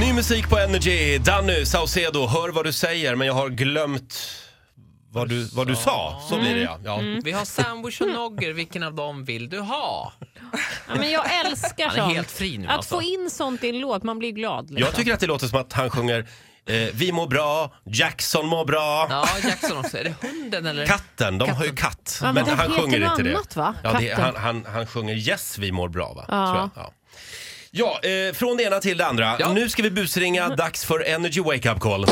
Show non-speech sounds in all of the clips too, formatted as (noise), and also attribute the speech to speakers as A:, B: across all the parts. A: Ny musik på Energy. Danny Saucedo, hör vad du säger men jag har glömt vad du, vad du sa. Så blir det ja. ja.
B: Mm.
C: Vi har sandwich och nogger, vilken av dem vill du ha?
B: Ja, men jag älskar
C: Han är
B: sånt.
C: helt fri nu
B: Att
C: alltså.
B: få in sånt i en låt, man blir glad. Liksom.
A: Jag tycker att det låter som att han sjunger eh, Vi mår bra, Jackson mår bra.
C: Ja, Jackson också. Är det hunden eller?
A: Katten, de har ju katt.
B: Ja, men
A: men
B: den
A: han
B: heter
A: sjunger
B: något
A: inte det.
B: annat, va?
A: Ja, det
B: Katten.
A: han, han, han sjunger Yes vi mår bra va?
B: Ja.
A: Tror jag. ja. Ja, eh, från det ena till det andra.
C: Ja.
A: Nu ska vi busringa. Dags för Energy Wake Up Call.
C: Hurra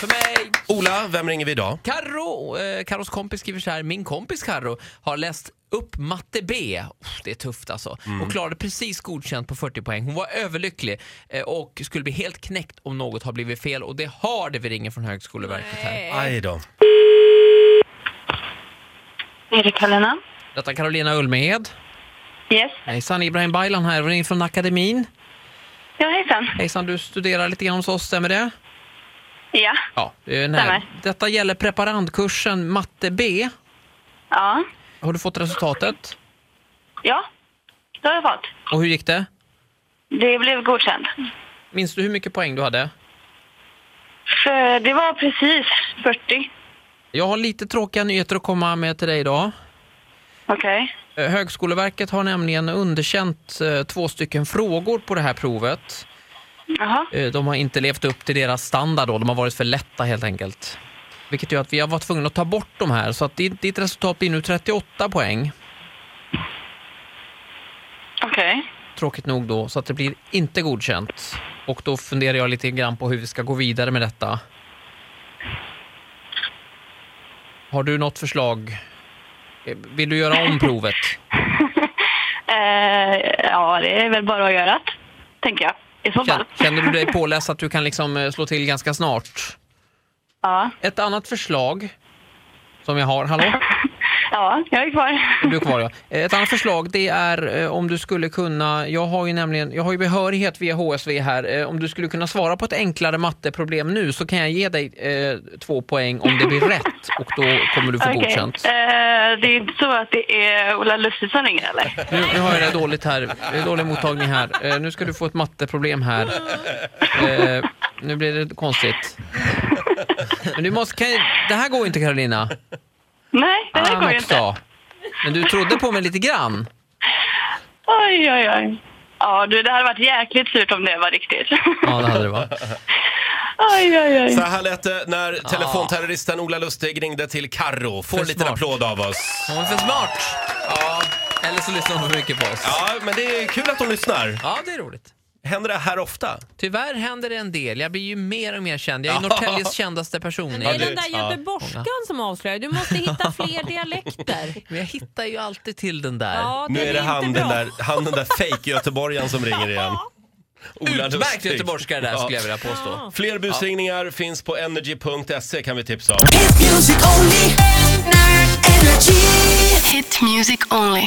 C: för mig!
A: Ola, vem ringer vi idag?
C: Karro, eh, Karros kompis skriver så här. Min kompis Karro har läst upp matte B. Uff, det är tufft alltså. Och klarade precis godkänt på 40 poäng. Hon var överlycklig eh, och skulle bli helt knäckt om något har blivit fel. Och det har det. Vi ringer från Högskoleverket här.
B: Eh.
A: Aj då.
D: Är det Karolina?
C: Detta är Carolina Ulmehed.
D: Yes.
C: Hejsan, Ibrahim Baylan här. Vi ringer från akademin.
D: Ja, hejsan.
C: Hejsan, du studerar lite grann hos oss, stämmer det?
D: Ja.
C: Ja, det är den här.
D: Stämmer.
C: Detta gäller preparandkursen matte B.
D: Ja.
C: Har du fått resultatet?
D: Ja. Det har jag fått.
C: Och hur gick det?
D: Det blev godkänt.
C: Minns du hur mycket poäng du hade?
D: För det var precis 40.
C: Jag har lite tråkiga nyheter att komma med till dig idag.
D: Okej.
C: Eh, Högskoleverket har nämligen underkänt eh, två stycken frågor på det här provet.
D: Jaha.
C: Eh, De har inte levt upp till deras standard då, de har varit för lätta helt enkelt. Vilket gör att vi har varit tvungna att ta bort de här, så att ditt ditt resultat blir nu 38 poäng.
D: Okej.
C: tråkigt nog då, så att det blir inte godkänt. Och då funderar jag lite grann på hur vi ska gå vidare med detta. Har du något förslag? Eh, Vill du göra om provet?
D: Eh, ja, det är väl bara att göra det, tänker jag. I så fall.
C: Kän- Känner du dig påläst att du kan liksom eh, slå till ganska snart?
D: Ja.
C: Ett annat förslag som jag har, hallå?
D: Ja, jag är kvar.
C: Du är kvar, ja. Eh, Ett annat förslag det är eh, om du skulle kunna, jag har ju nämligen, jag har ju behörighet via HSV här, Eh, om du skulle kunna svara på ett enklare matteproblem nu så kan jag ge dig eh, två poäng om det blir rätt och då kommer du få
D: Okej.
C: godkänt.
D: Eh, det är inte så att det är Ola Lustig som ringer,
C: (laughs)
D: eller?
C: Nu, nu har jag det dåligt här, det är dålig mottagning här. Eh, nu ska du få ett matteproblem här. Eh, nu blir det konstigt. Men du måste, kan, det här går ju inte Carolina.
D: Nej,
C: Ah,
D: det här går ju inte.
C: Men du trodde på mig lite grann.
D: Oj, oj, oj. Ja, du, det hade varit jäkligt surt om det var riktigt.
C: Ja, det hade det va?
D: (laughs) Oj, oj, oj.
A: Så här lät det när telefonterroristen Ola Lustig ringde till Karro. Får
C: För
A: en liten
C: smart.
A: applåd av oss.
C: Hon är för smart. Ja, eller så lyssnar hon för mycket på oss. Ja,
A: Ja, men det är kul att de lyssnar.
C: det är roligt.
A: Händer det här ofta?
C: Tyvärr händer det en del. Jag blir ju mer och mer känd. Jag är ju Norrtäljes kändaste person.
B: Men det
A: Ja,
B: är
A: det-
B: den där
A: ja.
B: göteborgskan som avslöjar. Du måste hitta
C: (laughs)
B: fler dialekter.
C: Men jag hittar ju alltid till den där.
B: Ja,
A: Nu är det
B: inte
A: han
B: bra.
A: den, där, han den där fejkgöteborgaren som ringer igen. Ola
C: Utmärkt
A: Lustig.
C: göteborgska det där
A: Ja.
C: skulle jag vilja påstå.
A: Fler busringningar finns på energy.se kan vi tipsa om.
E: Hit music only. Energy.
F: Hit music only.